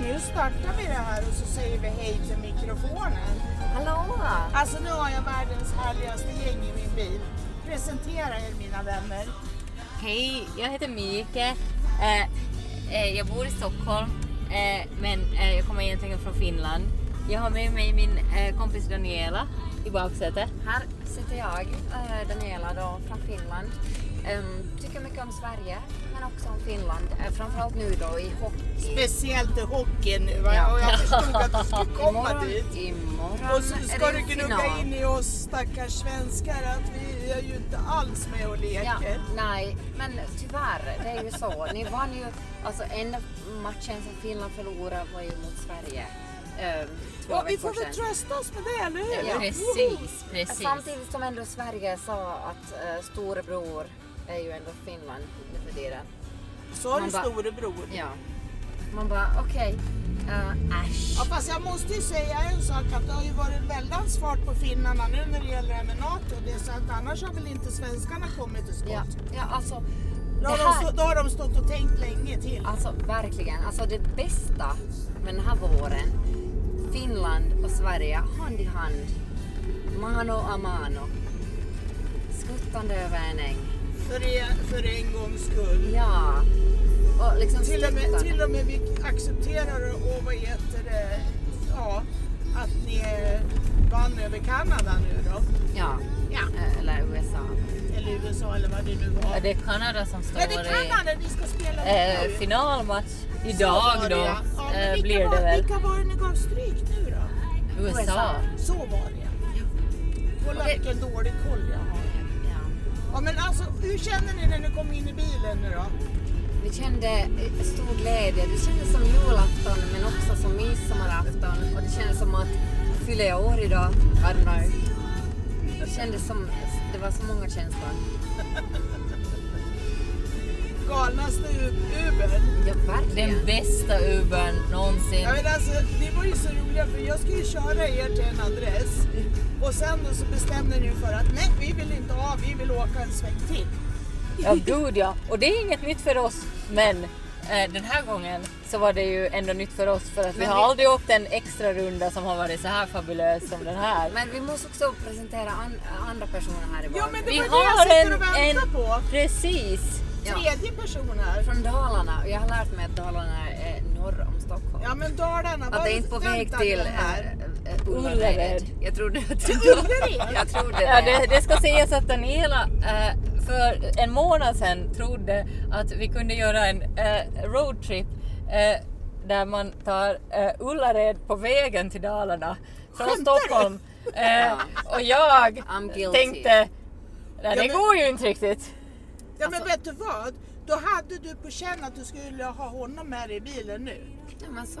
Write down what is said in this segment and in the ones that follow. Nu startar vi det här och så säger vi hej till mikrofonen. Hallå! Alltså nu har jag världens härligaste gäng i min bil. Presentera er mina vänner. Hej, jag heter Mike. Eh, eh, jag bor i Stockholm, eh, men eh, jag kommer egentligen från Finland. Jag har med mig min eh, kompis Daniela i baksätet. Här sitter jag, eh, Daniela då, från Finland. Ehm, tycker mycket om Sverige, men också om Finland. Eh, Framförallt nu då i hockey. Speciellt i hockey nu va? Ja. Och jag förstod att du skulle komma dit. imorgon, imorgon Och så ska är du det gnugga final. in i oss stackars svenskar att vi är ju inte alls med och leker. Ja, nej, men tyvärr, det är ju så. Ni vann ju, alltså enda matchen som Finland förlorade var ju mot Sverige. ehm, två Ja, vi veckor får väl sedan. trösta oss med det, eller hur? Ja. Precis, precis. Samtidigt som ändå Sverige sa att eh, storebror är ju ändå Finland nu för tiden. Så är det Man bara- storebror. Ja. Man bara okej, eh, äsch. Ja, fast jag måste ju säga en sak att det har ju varit en väldans fart på finnarna nu när det gäller det här med NATO. Det är så att annars har väl inte svenskarna kommit till skott. Ja, ja alltså, Då, det har de här, stå, då har de stått och tänkt länge till. alltså verkligen, alltså det bästa med den här våren, Finland och Sverige hand i hand, mano a mano, skuttande över en äng. För, en, för en gångs skull. Ja, och liksom Till och, med, skuttande. till och med vi accepterar och vad heter det, ja, att ni eh, vann över Kanada nu då. Ja, Ja. eh, eller USA. Eller USA eller vad det nu Ja, var. Det är Kanada som står Ja, det är i Kanada vi ska spela mot eh, nu. finalmatch Så var idag det, då. ja. Ja, men eh, vilka blir var, det väl. Vilka var det ni gav stryk nu då? USA. Så var det ja. Kolla Och det- vilken dålig koll jag har. Ja. Ja, men alltså, hur känner ni när ni kom in i bilen nu då? Vi kände eh, stor glädje. Det kändes som julafton men också som midsommarafton. Och det kändes som att fyller jag år idag? I don't know. Det kändes som, det var så många känslor. Galnaste U- Ubern. Ja, verkligen. Den bästa Ubern någonsin. Ja, men alltså, det var ju så roliga för jag skulle ju köra er till en adress och sen då så bestämde ni er för att nej, vi vill inte ha, vi vill åka en sväng till. Ja, gud ja. Och det är inget nytt för oss, men eh, den här gången så var det ju ändå nytt för oss för att vi Men har vi- aldrig åkt en extra runda som har varit så här fabulös som den här. Men vi måste också presentera an, andra personer här i Ja, baren. men det Vi var det jag har sitter en, och väntar en... på. Precis! Ja. Tredje person här. Från Dalarna. Och jag har lärt mig att Dalarna är norr om Stockholm. Ja, men Dalarna. Att det är inte på väg till här. eh, eh, Ullared. Ullared. Jag trodde att det Ullared? Jag trodde Ja, det. det, det ska sägas att Daniela eh, för en månad sedan trodde att vi kunde göra en eh, roadtrip eh, där man tar eh, Ullared på vägen till Dalarna från Skämtar du? Stockholm. Eh, och jag I'm guilty. tänkte, nej det men- går ju inte riktigt. Ja alltså- men vet du vad? Då hade du på känn att du skulle ha honom med dig i bilen nu. Ja, men så,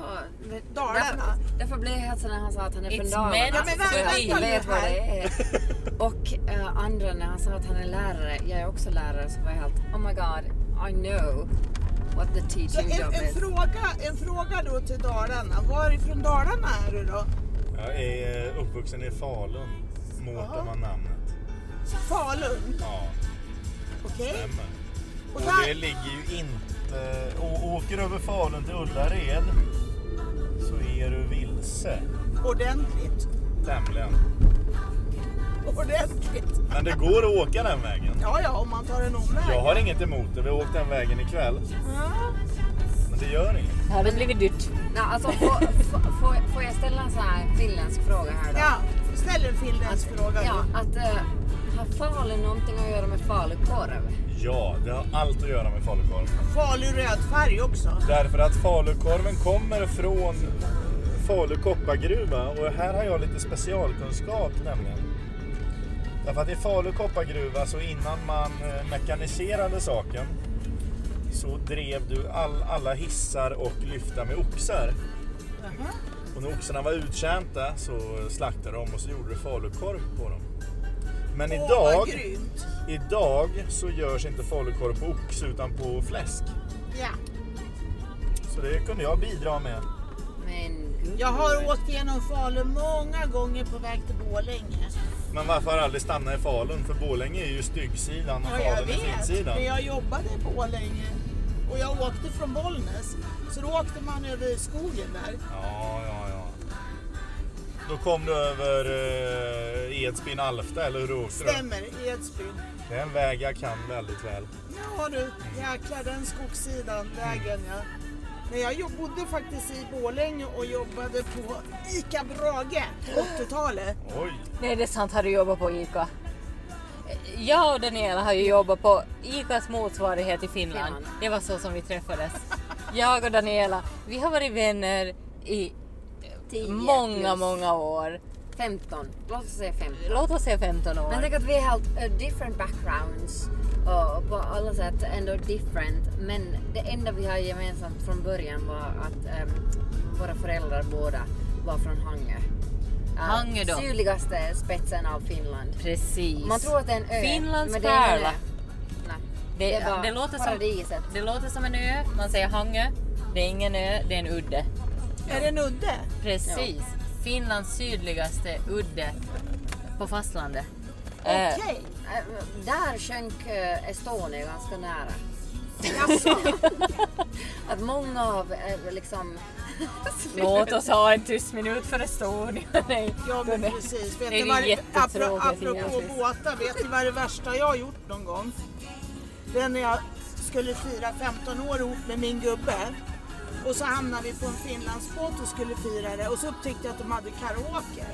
det, Dalarna. Alltså, Därför, därför blev jag helt så när han sa att han är It's från Dalarna. meant Ja, men to för att be. jag vet vad det är. Och eh, andra när han sa att han är lärare, jag är också lärare, så var jag helt oh my god, I know what the Så teaching en, job en, is. fråga, en fråga då till Dalarna. Varifrån Dalarna är du då? Jag är eh, uppvuxen i Falun. Mårten var namnet. Falun? Ja, Okej. stämmer. Och Och där- det ligger ju inte... Och åker över Falun till Ullared så är du vilse. Ordentligt. Tämligen. Ordentligt. Men det går att åka den vägen. Ja, ja, om man tar en omväg. Jag har inget emot det. Vi har åkt den vägen ikväll. Ja. Men det gör inget. Det hade blivit dyrt. Nej, alltså, får, får- får, får jag ställa en sån här finländsk fråga här då? ja, ställ en finländsk fråga Ja, då. att eh, har Falun någonting att göra med falukorv? Ja, det har allt att göra med falukorv. Falu röd färg också. Därför att falukorven kommer från Falu koppargruva och här har jag lite specialkunskap nämligen. Därför att i Falu koppargruva så innan man eh, mekaniserade saken så drev du all, alla hissar och lyfta med oxar. Jaha. Och när oxarna var uttjänta så slaktade de och så gjorde du falukorv på dem. Men Åh, vad idag, grymt. idag så görs inte falukorv på ox utan på fläsk. Ja. Så det kunde jag bidra med. Men gud. Jag har åkt genom Falun många gånger på väg till Borlänge. Men varför har aldrig stanna i Falun? För Borlänge är ju styggsidan och Ja, jag Falun är vet. finsidan. Men jag jobbade i Borlänge Och jag åkte från Bollnäs. Så då åkte man över skogen där. Ja, ja, ja. Då kom du över eh, Edsbyn Alfta, eller hur åkte du? Stämmer, Edsbyn. Det är en väg jag kan väldigt väl. Ja du, jäklar den skogssidan, vägen ja. Men jag jo- bodde faktiskt i Borlänge och jobbade på ICA Brage på 80-talet. Oj! Nej, det är sant. Har du jobbat på ICA? Jag och Daniela har ju jobbat på ICAs motsvarighet i Finland. Finland. Det var så som vi träffades. Jag och Daniela, vi har varit vänner i 10 många, plus många år. 15. Låt oss säga 15. Låt oss säga 15 år. Men tänk att vi har helt eh, different backgrounds och på alla sätt ändå different. Men det enda vi har gemensamt från början var att ehm, våra föräldrar båda var från Hangö. Eh, Hangö då. Sydligaste spetsen av Finland. Precis. Man tror att det är en ö. Finlands men det är en pärla. ö. Nej. Det, Det är bara det, låter som, paradiset. det låter som en ö. Man säger Hangö. Det är ingen ö, det är en udde. Är det en udde? Precis. Finlands sydligaste udde på fastlandet. Okej. Eh, Eh, Där sjönk eh, Estonia ganska nära. Jaså? Att många av eh, liksom... Låt oss ha en tyst minut för Estonia. Nej. Ja men Nej. precis. Vet Det är ni vad, ju apro, jättetråkigt apropå egentligen. båtar, vet ni vad det värsta jag har gjort någon gång? Det är när jag skulle fira 15 år ihop med min gubbe. Och så hamnade vi på en Finlandsbåt och skulle fira det och så upptäckte jag att de hade karaoke.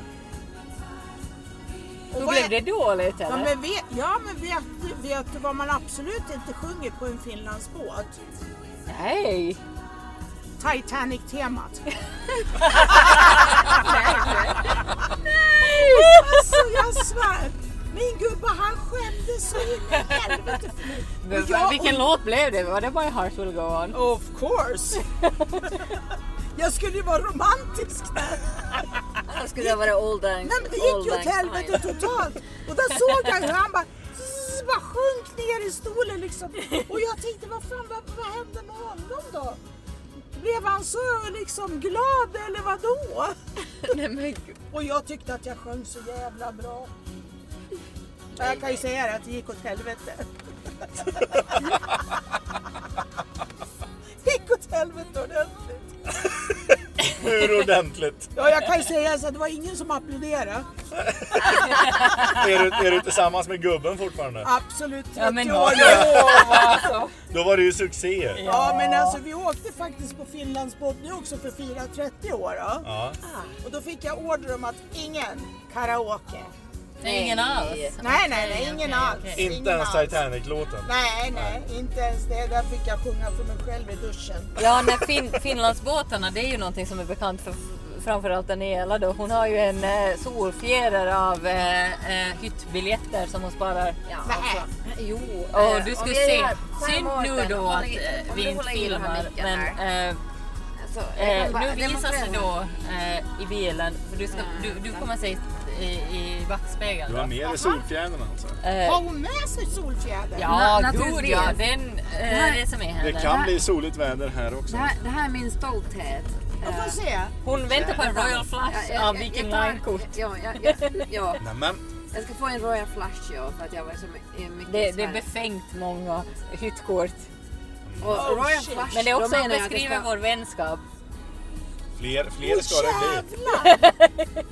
Och Då vad blev är- det dåligt Ja eller? men, vet, ja, men vet, du- vet du vad man absolut inte sjunger på en Finlandsbåt? Nej! Titanic-temat. Alltså jag svär! Min gubbe han skämdes så in i helvete för mig. Men Och jag- Vilken låt blev det? Var det bara Heart Will Go On? Of course! Jag skulle ju vara romantisk där. Då skulle jag vara old lang- Nej men det gick old ju lang åt helvete syne. totalt. Och där såg jag hur han bara, zzz, bara sjönk ner i stolen liksom. Och jag tänkte, vad fan vad, vad hände med honom då? Blev han så liksom glad eller vadå? Nej men gud. Och jag tyckte att jag sjöng så jävla bra. Ja, Jag kan ju säga det, att det gick åt helvete. Det gick åt helvete ordentligt. Hur ordentligt? Ja, jag kan ju säga så att det var ingen som applåderade. är, du, är du tillsammans med gubben fortfarande? Absolut 30 Ja men år. hallå alltså! Då var det ju succé. Ja men alltså vi åkte faktiskt på Finlandsbåt nu också för 4.30 år då. Ja. Och då fick jag order om att ingen karaoke. Nej, ingen alls. Nej nej nej, ingen alls. Inte ingen ens alls. Titanic-låten. Nej nej, inte ens det. Där fick jag sjunga för mig själv i duschen. Ja, nej, fin Finlandsbåtarna det är ju någonting som är bekant för framförallt Daniela då. Hon har ju en eh, solfjäder av eh, eh, hyttbiljetter som hon sparar. Ja, Nej. alltså. Jo. Åh, eh, du om skulle vi se. gör- så här, Synd nu Mårten, då om att vi- eh, om vi du inte håller i den här filmar. micken Men, här. eh, Alltså, jag eh, kan bara- nu jag måste visar sig göra- då eh, i bilen, för du, ska, Mm. du, du kommer se i, i backspegeln. Du var Då. med i Solfjädern alltså? Har Eh, hon med sig solfjäder? ja, Na- gud ja. naturligtvis. Den, eh, här- det som är Det henne. kan bli soligt väder här också. Det här, det här är min stolthet. Jag får Eh, se. Hon väntar på en Royal jag- Flush jag- av jag- Viking jag tar- Line-kort. Ja, ja, ja, ja. Nämen, Jag ska få en Royal Flush ja, för att jag var så my- eh, mycket Det, i det är Sverige. befängt många hyttkort. Och Royal Flush, Oh, Men det är då också menar jag att beskriver jag ska- vår vänskap. fler, fler ska det bli. Jävlar!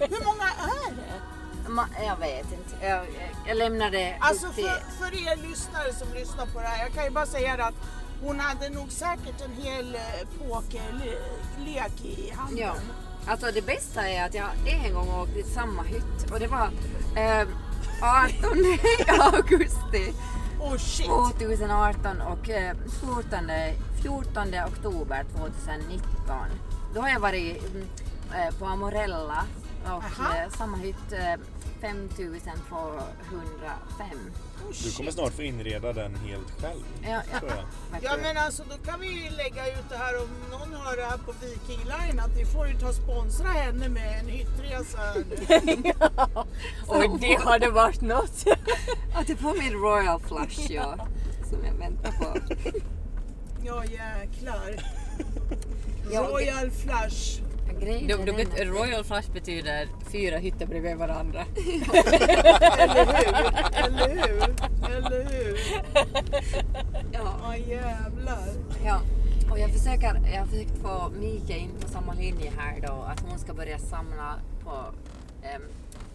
Hur många är det? Ma- Jag vet inte. Jag, jag lämnar det Alltså upp till... för, för er lyssnare som lyssnar på det här, jag kan ju bara säga det att hon hade nog säkert en hel eh, pokerlek i handen. Ja. Alltså det bästa är att jag en gång åkte i samma hytt och det var eh, 18 augusti Oh shit! 2018 och eh, 14, 14 oktober 2019. Då har jag varit mm, eh, på Amorella och Aha. eh, samma hytt eh, 5205. Oh, Du kommer shit. snart få inreda den helt själv. Ja, ja. Tror jag. Vet Ja du. men alltså då kan vi ju lägga ut det här om någon hör det här på Viking Line att ni får ju ta och sponsra henne med en hyttresa. nu. Och det hade varit något. Att jag får min Royal Flush ja, som jag väntar på. Ja jäklar. Ja, och Royal Flush. Grejen Du, är du den bet- Royal Flush betyder fyra hytter bredvid varandra. Eller hur? Eller hur? eller hur? Ja, jävlar. Ja, och jag försöker, jag har försökt få Mika in på samma linje här då, att hon ska börja samla på um,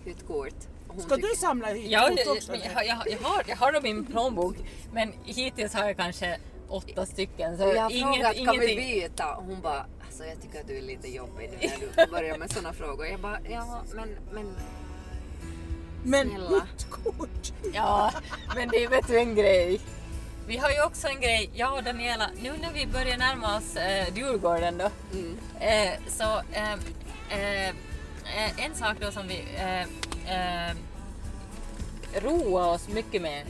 hyttkort. Och hon Ska du tycker- samla Ja, hyttkort jag, också? jag, eller? jag, jag, har, jag har dem i min plånbok, men hittills har jag kanske åtta stycken. Så Och jag har inget, frågat, kan vi ingenting. byta? Och hon bara, alltså jag tycker att du är lite jobbig nu när du börjar med sådana frågor. Jag bara, ja men, men Men snälla. hyttkort? Ja, men det är vet du en grej. Vi har ju också en grej, jag och Daniela, nu när vi börjar närma oss eh, Djurgården då. Eh, så eh, eh, eh, en sak då som vi eh, eh, roar oss mycket med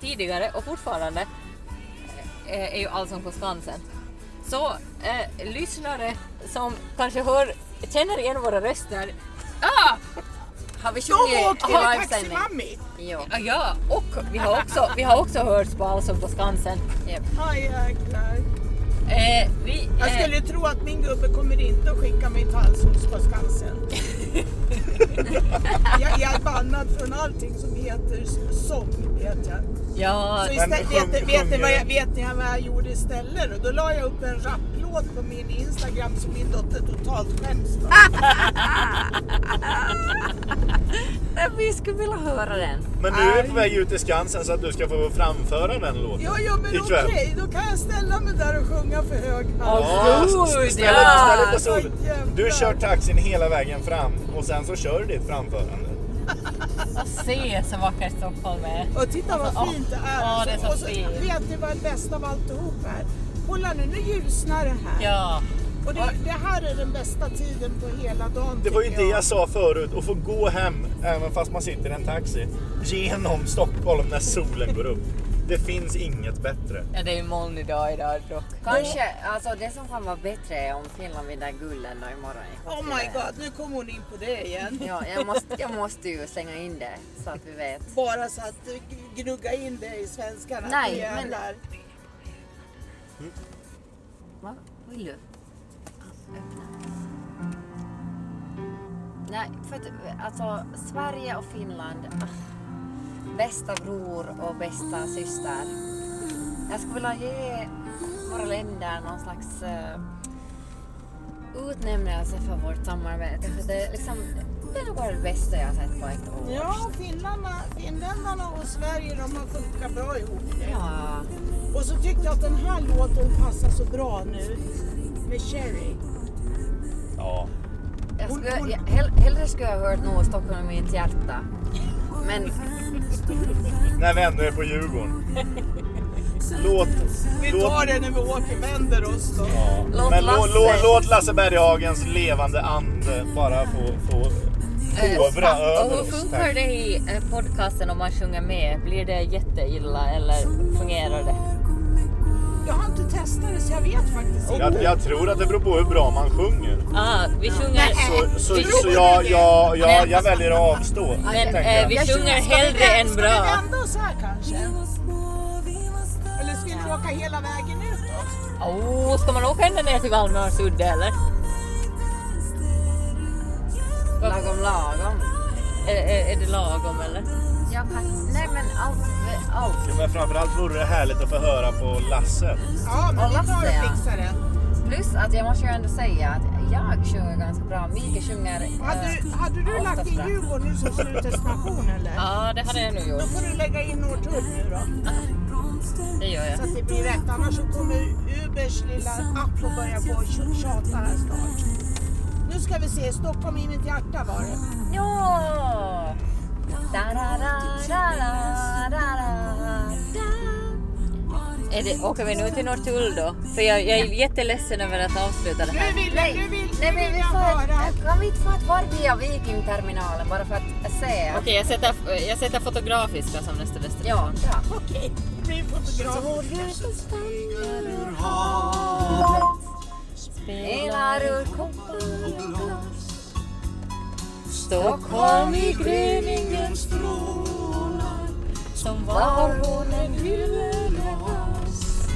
tidigare och fortfarande eh, är ju Allsång på Skansen. Så eh, lyssnare som kanske hör, känner igen våra röster. Ah! har vi De 21 åkte i med livesändning? Taxi-Mami! Jo. Ja, Ah, Ja, och vi har också, vi har också hörts på Allsång på Skansen. Yep. Ja, jäklar. Eh, vi, Jag eh, skulle tro att min gubbe kommer inte att skicka mig till Halsås på Skansen. jag, jag är bannad från allting som heter sång, vet jag. ja, Så Men istället, sjung- vet, vet, ni sjunger- vad jag, vet ni vad jag gjorde istället? Och då la jag upp en rapplåt på min Instagram som min dotter totalt skäms för. Ah! Vi skulle vilja höra den. Men nu är vi på väg ut till Skansen så att du ska få framföra den låten. Jo, jo, men okej, Ikväll. då kan jag ställa mig där och sjunga för hög hals. Ja, Gud, ställ dig- ja. ställ dig på sol. Oj, jävlar. Du kör taxin hela vägen fram och sen så kör du ditt framförande. att se så vackert Stockholm är. Och titta Alltså, vad fint det är. ja, det är så och så fint. vet ni vad det bästa av alltihop är? Kolla nu, nu ljusnar det här. Ja, Och det, det här är den bästa tiden på hela dagen. Det var ju tycker det jag sa förut, att få gå hem även fast man sitter i en taxi genom Stockholm när solen går upp. Det finns inget bättre. ja det är ju molnig dag idag dock. Kanske, alltså det som kan vara bättre är om Finland vinner gulden då imorgon. Jag hoppas Oh ju my det. god, nu kom hon in på det igen. Ja, jag måste, jag måste ju slänga in det så att vi vet. Bara så att du gnugga in det i svenskarna. Nej, Det men- jävlar. Va? Vill du? Alltså, Öppna. Nej, för att alltså Sverige och Finland. ah, Bästa bror och bästa syster. Jag skulle vilja ge våra länder någon slags eh, utnämnelse för vårt samarbete. För det, är liksom, det är nog bara det bästa jag har sett på ett år. Ja, finländarna, finländarna och Sverige de har funkat bra ihop. Ja. Och så tyckte jag att den här låten passar så bra nu med Cherry. Ja. Jag Hon- skulle, hon- jag, hell, hellre skulle jag ha hört Nå Stockholm i mitt hjärta. Men När vi ändå är på Djurgården. Låt... Vi låt tar det när vi åker, vänder oss då. ja. Låt Men låt, Lasse- låt, låt Lasse Berghagens levande ande bara få, få Eh, hovra och över hur oss. funkar Tack. det i eh, podcasten om man sjunger med? Blir det jätteilla eller fungerar det? Jag har inte testat det så jag vet faktiskt inte. Jag, jag tror att det beror på hur bra man sjunger. Ah, vi sjunger, Så, så, så jag, jag, jag, jag väljer att avstå. men, tänker jag. eh, vi Jag sjunger sjunger- hellre än Ska vi bra. vända oss här kanske? Eller ska vi åka hela vägen utåt? Oh, ska man åka ända ner till Valmars udde eller? lagom lagom. Är, är, är det lagom eller? Jag kan, nej men allt, allt. Ja, Men framförallt vore det härligt att få höra på Lasse. Ja, men Och vi tar Lasse, ja. och fixar det. Plus att jag måste ju ändå säga att jag sjunger ganska bra. Mika sjunger... eh, Hade, du- hade du lagt in oftast bra. Djurgården nu som slutdestination eller? Ja, det hade jag nog Då gjort. får du lägga in Norrtull nu då. Det gör jag. Så att det blir rätt. Annars så kommer Ubers lilla app och börja på och tj- tjata här snart. Nu ska vi se, Stockholm i mitt hjärta var det. Ja! Da, da, da, da, da, da, da. Är det, åker vi nu till Norrtull då? För jag, jag är jätteledsen över att avsluta det här. Nu vill jag, nu vill, nu Nej men vill vi jag får höra. ett, kan vi inte få ett varv via Vikingterminalen bara för att se? Okej, jag sätter, jag sätter fotografiska som nästa destination. Ja, ja. Okej, det blir fotograf. Spelar ur koppar och glas. Stockholm i gryningen strålar som var hon en gyllene vas.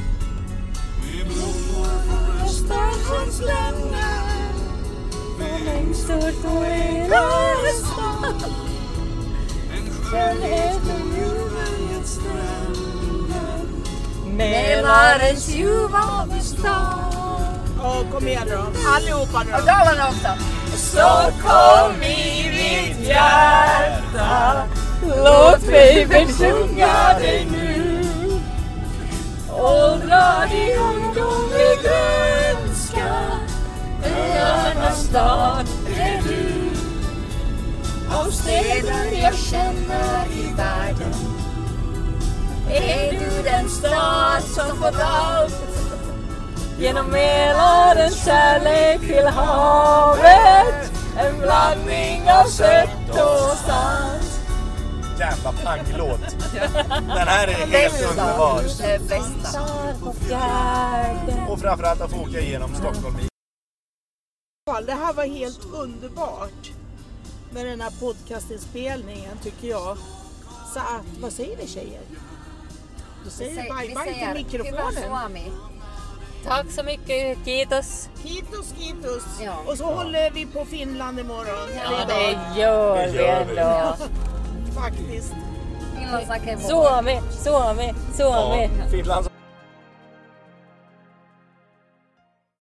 Med blommor från Östersjöns länder och längst ut på era stad. Skönheten i bergets Mälarens ljuva består Ja, kom igen då. Allihopa nu Och då. Dalarna också. Stockholm i mitt hjärta Låt mig besjunga dig nu Åldra i ungdomlig grönska Öarnas stad är du Av städer jag känner i världen Är du den stad som fått allt Genom Mälarens kärlek till havet En blandning av sött och salt Jävla panglåt. Den här är helt underbar. Det bästa. Dansar på fjärden Och framförallt att få åka igenom Stockholm i Det här var helt underbart med den här podcastinspelningen tycker jag. Så att, vad säger vi tjejer? Då säger vi bye bye till mikrofonen. Suomi. Tack så mycket, kiitos. Kitos, kitos. Ja. Och så håller vi på Finland imorgon. Ja, Eller idag, det gör vi ändå. faktiskt. Finland snackar ju på- Suomi, Suomi, Suomi. Finland.